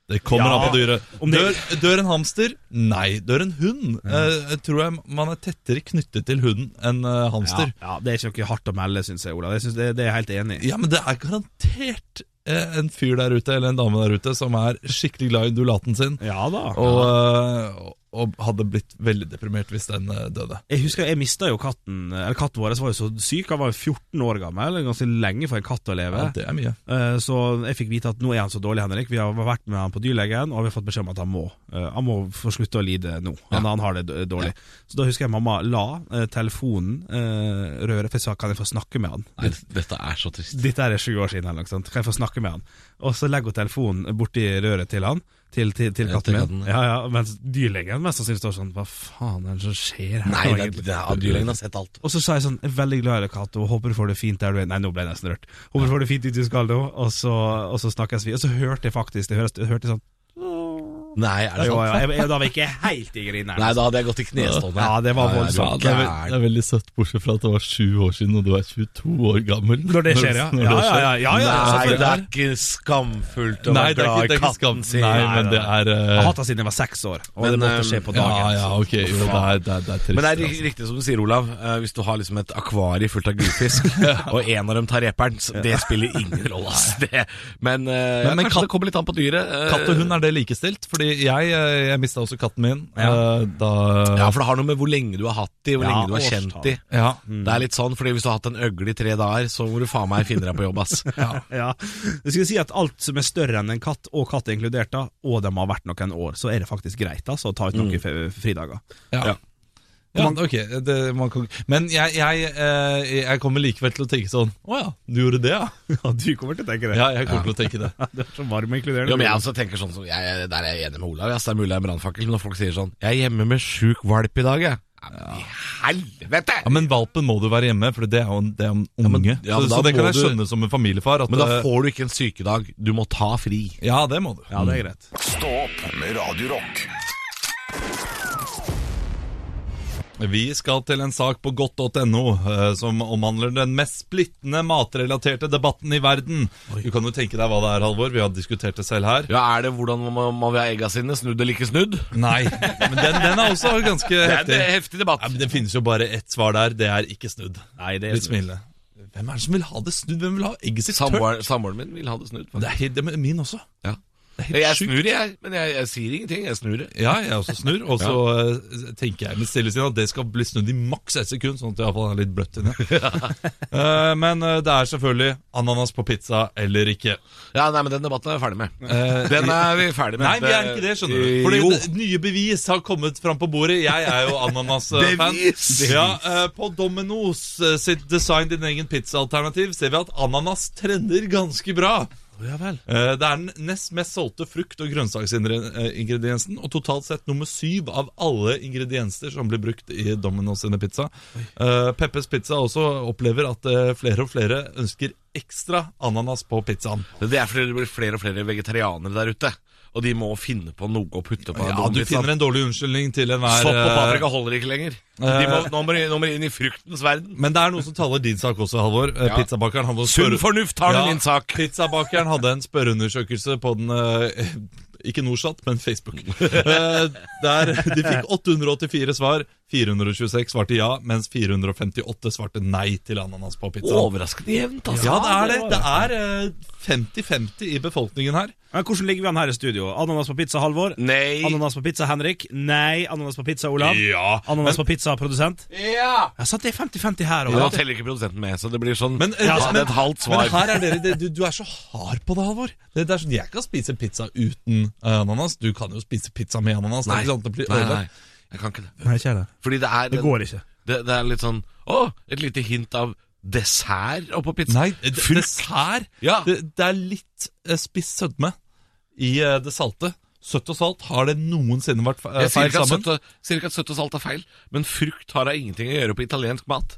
S5: Det kommer
S4: Ja,
S5: an på dyret.
S4: om det-
S5: Dør, dør en hamster? Nei. Dør en hund? Eh, tror jeg man er tettere knyttet til hunden enn eh,
S4: ja,
S5: hamster.
S4: ja, det er ikke noe hardt å melde, syns jeg, Olav. Jeg synes det, det er jeg helt enig i.
S5: Ja, men det er garantert eh, en fyr der ute, eller en dame der ute, som er skikkelig glad i undulaten sin,
S4: Ja da.
S5: og, eh, og hadde blitt veldig deprimert hvis den eh, døde.
S4: Jeg husker jeg mista jo katten Eller katten vår var jo så syk. Han var jo 14 år gammel. Ganske lenge for en katt å leve.
S5: Ja, det er mye.
S4: Eh, Så jeg fikk vite at nå er han så dårlig, Henrik. Vi har vært med han på dyrlegen, og vi har fått beskjed om at han må eh, Han må få slutte å lide nå. Han, han har det d- dårlig. Så da husker jeg mamma la eh, telefonen eh, røre, for jeg sa kan jeg få snakke med han?
S3: Nei, dette er så trist.
S4: Dette er sju år siden, eller noe sånt. Kan jeg få snakke med han? Og så legger hun telefonen borti røret til han. Til, til, til
S3: Ja, til
S4: katten
S3: katten,
S4: min.
S3: ja.
S4: Ja, ja, mens dyrlegen mest sannsynlig står sånn Hva faen er det som skjer her?
S3: Nei,
S4: nå
S3: det,
S4: egentlig?»
S3: det, ja, dyrlegen har sett alt.
S4: Og så sa jeg sånn, jeg er veldig glad i deg, Kato, håper du får det fint der du er. Nei, nå ble jeg nesten rørt. Håper du får det fint dit du skal nå, og så, og så snakkes vi. Og så hørte jeg faktisk, det hørtes, jeg hørte sånn
S3: Nei, er det
S4: Jo,
S3: sant?
S4: ja, jeg, jeg, da var jeg ikke helt i grineren.
S3: Nei, da hadde jeg gått i knestående.
S4: Ja, det var
S3: Nei,
S4: voldsomt.
S3: er du
S5: det, er ve- det
S3: gæren?
S5: er veldig søtt, bortsett fra at det var sju år siden, og du er 22 år gammel.
S4: Når det skjer, ja.
S5: Når det
S4: Ja, ja,
S5: skjer.
S4: ja, ja, ja,
S3: Nei,
S4: selvfølgelig.
S3: det er ikke skamfullt å
S5: Nei,
S3: være
S5: det er ikke,
S3: glad i
S5: det er ikke
S3: katten
S5: skam.
S3: sin.
S5: Nei, men det er
S4: Jeg har
S5: eh,
S4: hatt det siden jeg var seks år, og
S3: Men,
S4: det måtte
S3: eh,
S4: skje på dagen.
S5: Ja, ja, ok. Jo, det er, det er, det er trist.
S3: Men det er ri-
S5: altså.
S3: riktig som du sier, Olav. eh, Hvis du har liksom et akvarie fullt av gullfisk, og en av dem tar reperen, så det spiller ingen rolle. ass. Det- Men, eh,
S5: Men- men
S3: kanskje
S5: katt-
S3: det kommer litt an på dyret. eh,
S5: Katt og hund, er det likestilt? Fordi jeg, eh, jeg mista også katten min.
S4: Ja.
S5: eh, Da
S3: Ja, for det har noe med hvor lenge du har hatt de, hvor
S4: Ja,
S3: lenge du har kjent de.
S5: Ja.
S3: Det er litt sånn, fordi hvis du har hatt en øgle i tre dager, så må du faen meg finne deg på jobb, ass.
S4: Ja. Jeg skulle si at alt som er større enn en katt, og katt inkludert, da, og de har vært noen år, så er det faktisk greit altså, å ta ut noen
S3: Mm.
S4: fe- fridager.
S5: Ja.
S4: Ja.
S5: Ja, ok, det, man kan, men jeg, jeg, eh, jeg kommer likevel til å tenke sånn Å ja, du gjorde det, ja?
S4: Ja, du kommer til å tenke det.
S5: Ja, jeg kommer til å tenke det.
S4: Du er så varm og inkluderende.
S3: Jo, men jeg også tenker sånn som jeg, Der er jeg enig med Olav. Ass. Det er mulig det er en brannfakkel, men når folk sier sånn 'Jeg er hjemme med sjuk valp i dag', jeg. Ja, men i helvete!
S5: Ja, Men valpen må du være hjemme, for det er jo en, det er jo en unge.
S3: ja, men
S5: så,
S3: da
S5: så det
S3: må
S5: kan jeg
S3: du-
S5: skjønne som en familiefar. At,
S3: Men da
S5: eh,
S3: får du ikke en sykedag. Du må ta fri.
S5: Ja, det må du. Mm.
S4: Ja, det er greit.
S1: Stå opp med Radio Rock.
S5: Vi skal til en sak på godt.no eh, som omhandler den mest splittende matrelaterte debatten i verden. Du kan jo tenke deg hva det er, Halvor. Vi har diskutert det selv her.
S3: Ja, Er det hvordan man, man vil ha egga sine? Snudd eller ikke snudd?
S5: Nei, men den, den er også ganske
S3: Det er
S5: heftig.
S3: en heftig debatt.
S5: Ja, men Det finnes jo bare ett svar der. Det er ikke snudd.
S4: Nei, det er
S5: Litt smilende. Hvem er det som vil ha det snudd? Hvem vil ha egget sitt tørt?
S3: Samboeren samboeren min vil ha det snudd.
S5: Det
S3: faktisk.
S5: er helt, det er min også.
S3: Ja.
S5: Det er helt
S3: Jeg
S5: sjukt.
S3: snur, jeg, men jeg, jeg sier ingenting. Jeg snur det.
S5: Ja, jeg også snur. Og så eh, tenker jeg med stille sinn at det skal bli snudd i maks ett sekund, sånn at det iallfall er litt bløtt inni. Eh, men eh, det er selvfølgelig ananas på pizza eller ikke.
S3: Ja, nei, men Den debatten er vi ferdig med.
S5: Eh,
S3: Den er vi ferdig med.
S5: Nei, vi er ikke det, skjønner du. Fordi det- nye bevis har kommet fram på bordet. Jeg er jo ananas-fan.
S3: Bevis!
S5: Ja, eh, på Domino's eh, sitt Design din egen pizza-alternativ ser vi at ananas trender ganske bra.
S3: ja vel.
S5: Eh, Det er den nest mest solgte frukt- og grønnsaksingrediensen, og totalt sett nummer syv av alle ingredienser som blir brukt i Domino's sine pizza. Eh, Peppes Pizza også opplever at eh, flere og flere ønsker ekstra ananas på pizzaen.
S3: Men Det er fordi det blir flere og flere vegetarianere der ute. Og de må finne på noe å putte på. sånn
S5: Ja, du finner en dårlig unnskyldning til enhver
S3: Sopp og
S5: eh,
S3: paprika holder ikke lenger. De må, nå, må de, nå må de inn i fruktens verden.
S5: Men det er noe som taler din sak også, Halvor. Eh,
S3: Ja.
S5: Pizzabakeren hadde en
S3: Sunn
S5: spørre-
S3: fornuft har
S5: Ja,
S3: du min sak.
S5: Pizzabakeren hadde en spørreundersøkelse på den eh, Ikke Norsat, men Facebook. Eh, Der de fikk 884 svar. 426 svarte ja, mens 458 svarte nei til ananas på pizza.
S3: Overraskende jevnt, altså.
S5: Ja, det er det. Det er eh, 50-50 i befolkningen her.
S4: Men hvordan ligger vi an her i studio? Ananas på pizza, Halvor?
S3: Mm. Nei.
S4: Ananas på pizza, Henrik? Nei. Ananas på pizza, Olav?
S5: Ja,
S4: Ananas på pizza, produsent?
S3: Ja.
S4: Ja, så det er 50-50 her
S3: Nå
S4: òg.
S3: teller ikke produsenten med, så det blir sånn
S5: Men, eh,
S3: ja,
S5: men-
S3: det er et halvt
S5: Men
S3: svar.
S5: her er dere, det, du, du er så hard på det, Halvor. Det, det er sånn, Jeg kan spise pizza uten eh, ananas. Du kan jo spise pizza med ananas. Det er ikke sant, det blir
S3: nei,
S5: ødelagt.
S3: nei, jeg kan ikke det.
S4: Nei, ikke det.
S3: Fordi det er
S4: Det går ikke.
S3: Det, det er litt sånn Å, et lite hint av dessert oppå pizza.
S5: Nei, d- dessert
S3: Ja.
S5: det, det er litt eh, spiss sødme i eh, det salte. Søtt og salt, har det noensinne vært fe- eh,
S3: Jeg sier
S5: feil
S3: ikke, at
S5: sammen?
S3: søtt og, sier ikke at søtt og salt er feil, men frukt har da ingenting å gjøre på italiensk mat.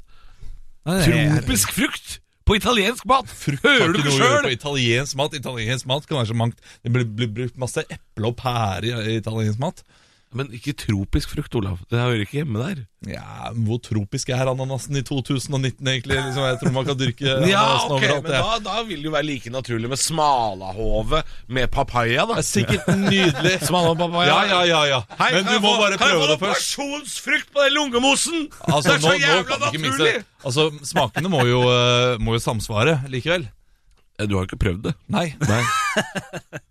S5: Tror-
S3: Tropisk frukt på italiensk mat!
S5: Frukt har
S3: Hører du
S5: ikke
S3: ikke
S5: noe å gjøre
S3: sjøl?
S5: på italiensk mat. Italiensk mat kan være så mangt. Det blir, blir brukt masse eple og pære i- i italiensk mat.
S3: Men ikke tropisk frukt, Olav. Det hører ikke hjemme der.
S5: Ja, men Hvor tropisk er ananasen i 2019, egentlig? Liksom, jeg tror man kan dyrke ananasen overalt. jeg.
S3: vil det jo være like naturlig med smalahove med papaya, da.
S5: Det er sikkert nydelig.
S3: Smalahove-papaya.
S5: Ja, ja, ja, ja. Men du må bare prøve det først.
S3: Personsfrukt på den lungemosen!
S5: Altså,
S3: det er så
S5: nå- nå
S3: jævla
S5: kan du ikke mikse.
S3: naturlig!
S5: Altså, Smakene må jo, eh, må jo samsvare likevel.
S3: Eh, Du har jo ikke prøvd det.
S5: Nei.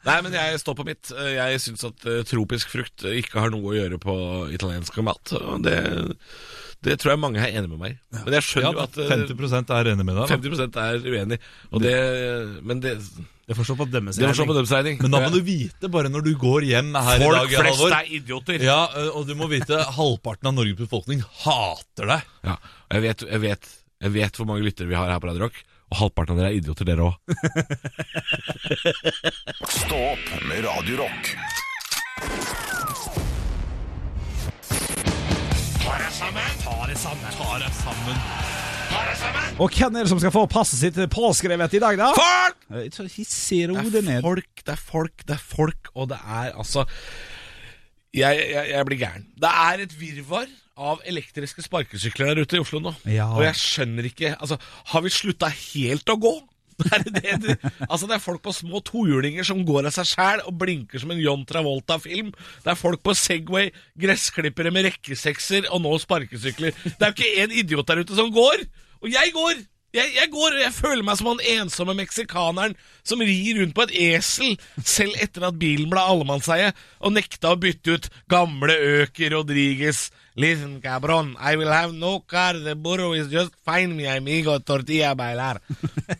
S3: Nei. men jeg står på mitt. Jeg syns at eh, tropisk frukt ikke har noe å gjøre på italiensk mat. og Det, det tror jeg mange er enig med meg i. Men jeg
S5: Ja,
S3: skjønner jo at eh,
S5: 50 er enig med deg. da.
S3: 50 er uenig. Og det, men det,
S4: Det får se på dømmes.
S3: det får stå på deres regning.
S5: Men da må du vite, bare når du går hjem her i
S3: Folk
S5: dag,
S3: flest
S5: Halvor
S3: er idioter.
S5: ja, eh, Og du må vite halvparten av Norges befolkning hater deg.
S3: Ja, og jeg vet, jeg, vet, jeg vet hvor mange lyttere vi har her på Radio Rock, og halvparten av dere er idioter, dere òg.
S1: Stå opp med Radio Rock.
S4: Og hvem er det som skal få passet sitt påskrevet i dag, da?
S3: Folk!
S4: Eh, Ikke så hissig, ro
S3: Det
S4: det
S3: er
S4: ned.
S3: folk, det er folk, det er folk, og det er altså Jeg, jeg, jeg blir gæren. Det er et virvar av elektriske sparkesykler der ute i Oslo nå.
S4: Ja.
S3: Og jeg skjønner ikke Altså, har vi slutta helt å gå? Er det det, det, altså Det er folk på små tohjulinger som går av seg sjæl og blinker som en John Travolta-film. Det er folk på Segway, gressklippere med rekkesekser og nå sparkesykler. Det er jo ikke én idiot der ute som går! Og jeg går! Jeg, jeg går, og jeg føler meg som han ensomme meksikaneren som rir rundt på et esel, selv etter at bilen ble allemannseie, og nekta å bytte ut gamle Øker Rodriguez. Listen, cabron, I will have no car, the burro is just fine, mi amigo tortilla bailar.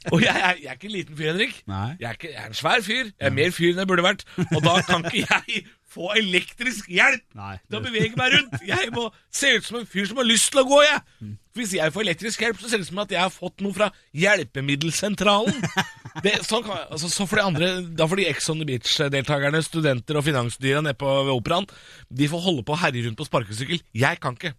S3: og jeg, er- jeg er ikke en liten fyr, Henrik.
S4: Nei.
S3: Jeg, er ikke, jeg er en svær fyr. Jeg er mer fyr enn jeg burde vært. Og da kan ikke jeg få elektrisk hjelp
S4: Nei,
S3: til å
S4: det-
S3: bevege meg rundt. Jeg må se ut som en fyr som har lyst til å gå, jeg. Hvis jeg får elektrisk hjelp, så ser det ut som at jeg har fått noe fra hjelpemiddelsentralen. Det, sånn kan, jeg- altså, så får de andre, da får de Ex on the Beach-deltakerne, studenter og finansdyra nede på ved operaen, de får holde på å herje rundt på sparkesykkel. Jeg kan ikke.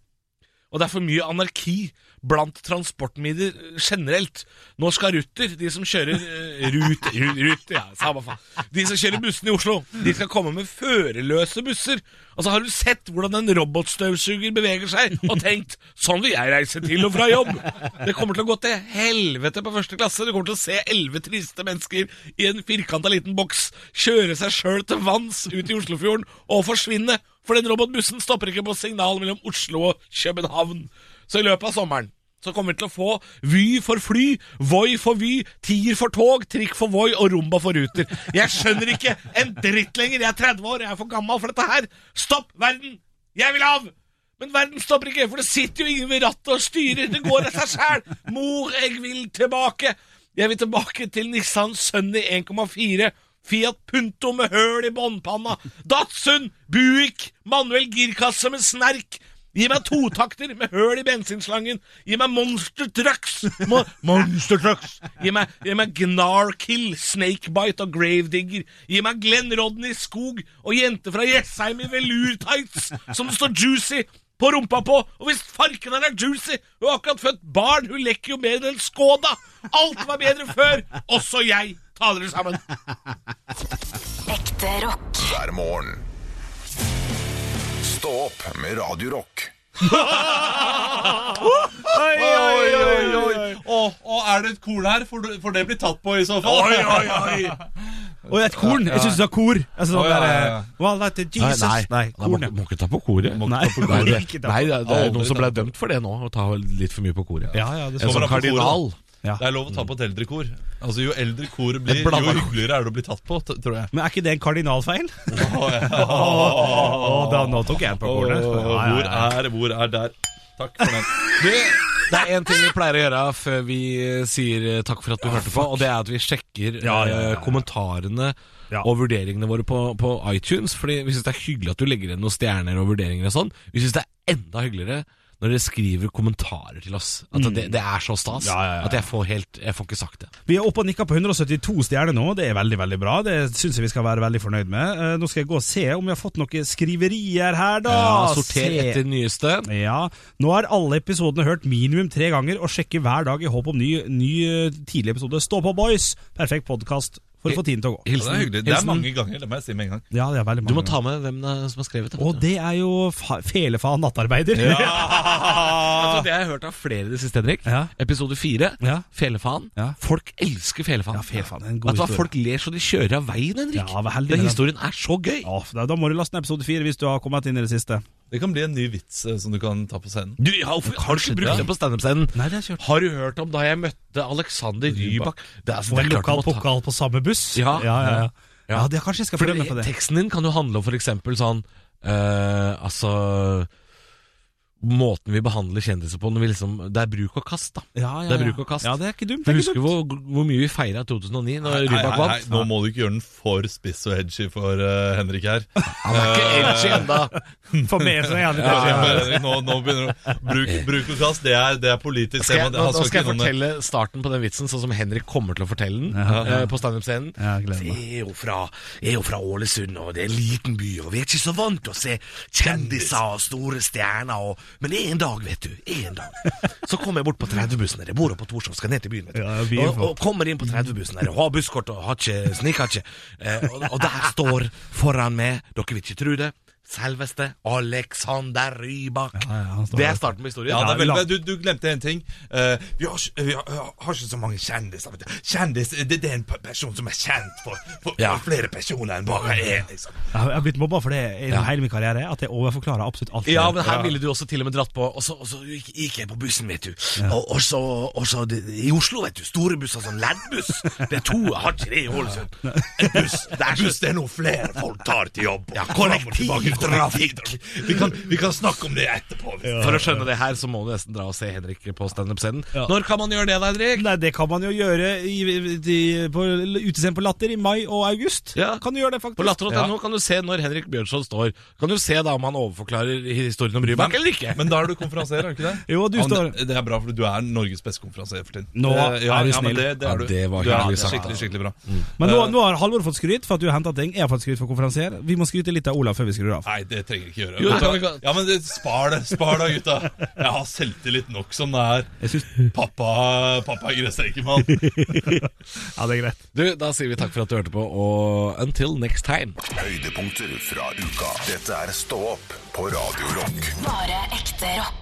S3: Og det er for mye anarki blant transportmidler generelt. Nå skal Ruter, de som kjører eh, rut, rut, rut, ja, samme faen. De som kjører bussene i Oslo, de skal komme med førerløse busser. Altså, har du sett hvordan en robotstøvsuger beveger seg, og tenkt sånn vil jeg reise til og fra jobb? Det kommer til å gå til helvete på første klasse. Du kommer til å se elleve triste mennesker i en firkanta liten boks kjøre seg sjøl til vanns ut i Oslofjorden og forsvinne. For den robotbussen stopper ikke på signal mellom Oslo og København. Så i løpet av sommeren så kommer vi til å få Vy for fly, Voi for Vy, Tier for tog, Trikk for Voi og Rumba for Ruter. Jeg skjønner ikke en dritt lenger. Jeg er 30 år, jeg er for gammel for dette her. Stopp verden! Jeg vil av! Men verden stopper ikke, for det sitter jo ingen ved rattet og styrer. Det går av seg sjæl. Mor, jeg vil tilbake. Jeg vil tilbake til Nissan Sunny 1,4. Fiat Punto med høl i båndpanna. Datsun, Buick, manuell girkasse med snerk. Gi meg totakter med høl i bensinslangen. Gi meg monster trucks. Mo monster trucks. Gi meg, gi meg Gnarkill, Snakebite og Gravedigger. Gi meg Glenn Rodney Skog og jente fra Jessheim i velurtights som det står juicy på rumpa på. Og hvis farken her er juicy Hun har akkurat født barn, hun lekker jo bedre enn Skoda. Alt var bedre før. Også jeg. Ta dere sammen.
S2: Ekte rock.
S1: hver morgen. Stå opp med Radio Rock.
S5: Oi, oi, oi. Og, og er det et korn her? For, du- for det blir tatt på i så fall. Oi, oi, oi.
S4: Og et korn! Jeg syns det var kor. Jeg synes eh, det var
S5: Å, ja,
S4: bare,
S5: ja, ja.
S4: Well, that is Jesus. korn, ja.
S3: ikke ta på koret.
S4: Nei,
S3: Nei, det,
S4: ikke
S3: nei, det, det er
S5: Aldri
S3: noen som
S5: ta
S3: ble dømt for det nå, å ta litt for mye på koret.
S4: Ja, ja,
S3: en
S4: det så
S5: kommer
S3: sånn
S5: an på
S3: kardinal.
S5: Det er lov å ta på et eldre kor. Altså, jo eldre koret blir,
S3: Et
S5: jo
S3: blanda kor.
S5: hyggeligere er det å bli tatt på, t- tror jeg.
S4: Men er ikke det en kardinalfeil? Å, da, nå tok jeg den på
S5: Åh,
S4: kornet. Ja, ja,
S5: hvor
S4: ja.
S5: er, hvor er der? Takk for den.
S3: Du, det er én ting vi pleier å gjøre før vi eh, sier eh, takk for at du hørte på, og det er at vi sjekker
S4: Ja, ja, ja, ja.
S3: eh, kommentarene
S4: Ja.
S3: og vurderingene våre på, på iTunes. Fordi vi syns det er hyggelig at du legger igjen noen stjerner og vurderinger og sånn. Vi syns det er enda hyggeligere når dere skriver kommentarer til oss. At det, det er så stas
S4: Mm. Ja, ja, ja.
S3: at jeg får helt Jeg får ikke sagt det.
S4: Vi er oppe og nikker på 172 stjerner nå. Det er veldig veldig bra. Det syns jeg vi skal være veldig fornøyd med. Eh, Nå skal jeg gå og se om vi har fått noen skriverier her, da.
S3: Ja, sorter
S4: Se.
S3: etter nyeste.
S4: Ja. Nå har alle episodene hørt minimum tre ganger, og sjekker hver dag i håp om ny, ny eh, tidlig episode. Stå på, boys! Perfekt podkast for å få tiden til å gå.
S5: Ja, det er hyggelig. Det er mange ganger, det må jeg si med en gang.
S4: Ja, det er veldig mange.
S3: Du må ta med hvem det er som har skrevet det. vet
S4: Og
S3: du.
S4: det er jo fa Felefaen nattarbeider.
S3: Altså, det har jeg hørt av flere i det siste, Henrik.
S4: Ja.
S3: Episode fire.
S4: Ja.
S3: Felefan.
S4: Ja.
S3: Folk elsker felefan.
S4: Ja, Felefan, en god
S3: Vet du hva,
S4: historie.
S3: Folk ler så de kjører av veien, Henrik.
S4: Ja, vær heldig
S3: Den
S4: med
S3: historien er så gøy.
S4: Ja, da, da må du laste ned episode fire hvis du har kommet inn i det siste.
S5: Det kan bli en ny vits eh, som du kan ta på scenen.
S3: Du, ja, hvorfor har du ikke brukt det på standup-scenen?
S4: Nei, det har jeg kjørt.
S3: Har du hørt om da jeg møtte Alexander Rybak? Det er, altså,
S4: Og
S3: det
S4: en
S3: er klart du
S4: lokal
S3: må ta-
S4: pokal på samme buss.
S3: Ja.
S4: ja, ja. ja.
S3: Ja.
S4: ja det, kanskje jeg skal
S3: Fordi
S4: prøve meg på det.
S3: Teksten din kan jo handle om for eksempel sånn eh, Altså Måten vi behandler kjendiser på når vi liksom, Det er bruk og kast, da.
S4: Ja, ja,
S3: Det er
S4: ja.
S3: bruk og kast.
S4: Ja, det er ikke dumt.
S3: For
S4: Det er
S3: jeg
S4: ikke
S3: husker
S4: dumt.
S3: hvor, hvor mye vi feira 2009, når
S5: Nei,
S3: Rybak
S5: nei, nei,
S3: vant.
S5: nå må du ikke gjøre den for spiss og edgy for eh, Henrik her.
S3: Han er ikke edgy ennå.
S4: For meg så er det jævlig
S5: Ja,
S4: dårlig.
S5: Henrik, nå, nå begynner du Bruk, bruk og kast, det er, det er politisk.
S3: skal jeg,
S5: tema, det-
S3: nå,
S5: han
S3: nå skal jeg
S5: ikke innom det.
S3: fortelle starten på den vitsen sånn som Henrik kommer til å fortelle den eh, på standup-scenen.
S4: Ja, jeg gleder meg.
S3: Jeg er jo fra, jeg er jo fra Ålesund, og det er en liten by, og vi er ikke så vant til å se kjendiser og store stjerner og Men en dag, vet du, en dag, så kommer jeg bort på 30-bussen der. Jeg bor oppe på Torshov, skal ned til byen, vet du.
S4: Ja, byen,
S3: og, og kommer inn på 30-bussen der, og har busskort og har ikke, sniker ikke. Eh, og, og der står foran meg, dere vil ikke tro det, selveste Alexander Rybak.
S4: Ja, ja, han står
S3: det
S4: der.
S3: er starten på historien.
S5: Ja, det er
S4: la-
S5: vel, du, du glemte en ting. Eh,
S3: Vi har, ikke- vi har, har ikke så mange kjendiser. Vet du. Kjendis det, det er en pe- person som er kjent for, for,
S7: Ja.
S3: for flere personer enn bare én. Liksom.
S4: Jeg har- jeg har blitt mobba for det i hele min karriere, at jeg overforklarer absolutt alt.
S7: Ja,
S3: men her ville du også til og med dratt på. Og så, og så gikk, gikk jeg på bussen, vet du. Og, og så, og så det, I Oslo, vet du. Store busser som leddbuss. Det er to. Jeg har ikke det i Ålesund. En buss. Det er, buss, det er noe flere folk tar til jobb. Ja, Kollektivtrafikk.
S5: vi, kan, vi kan snakke om det etterpå. hvis-
S7: For å skjønne det her, så må du nesten dra og se Henrik på standup-scenen. Når kan man gjøre det, da, Henrik?
S4: Nei, det kan man jo gjøre i, i, på utescenen på Latter i mai og august.
S7: Ja.
S4: Kan du gjøre det, faktisk?
S7: På latter.no kan du se når Henrik Bjørnson står. Kan du se da om han overforklarer historien om Rybak eller ikke?
S5: Men da er du konferansier, er du ikke det?
S4: Jo, du
S5: Ja, men
S4: står-
S5: det- Det er bra, for du er Norges beste konferansier for tiden.
S4: Nå
S5: Eh, ja,
S4: er du
S5: ja, men
S4: snill.
S5: det, det, er
S7: Ja,
S5: du.
S7: det var
S5: du er
S7: hyggelig sagt,
S5: Skikkelig, skikkelig bra.
S4: Men nå, nå har Halvor fått skryt for at du har henta ting. Jeg har fått skryt for konferansier. Vi må skryte litt av Olav før vi skrur av.
S5: Nei, det trenger vi ikke gjøre.
S7: Jo, det kan vi
S5: Gutta,
S7: godt.
S5: ja, men det, Spar det, spar det, gutta. Jeg har selvtillit nok som det er.
S4: Jeg synes,
S5: Pappa, pappa er gressrekkemann.
S4: ja, det er greit.
S7: Du, da sier vi takk for at du hørte på, og until next time.
S1: Høydepunkter fra uka. Dette er Stå opp på Radio Rock.
S2: Bare ekte rock.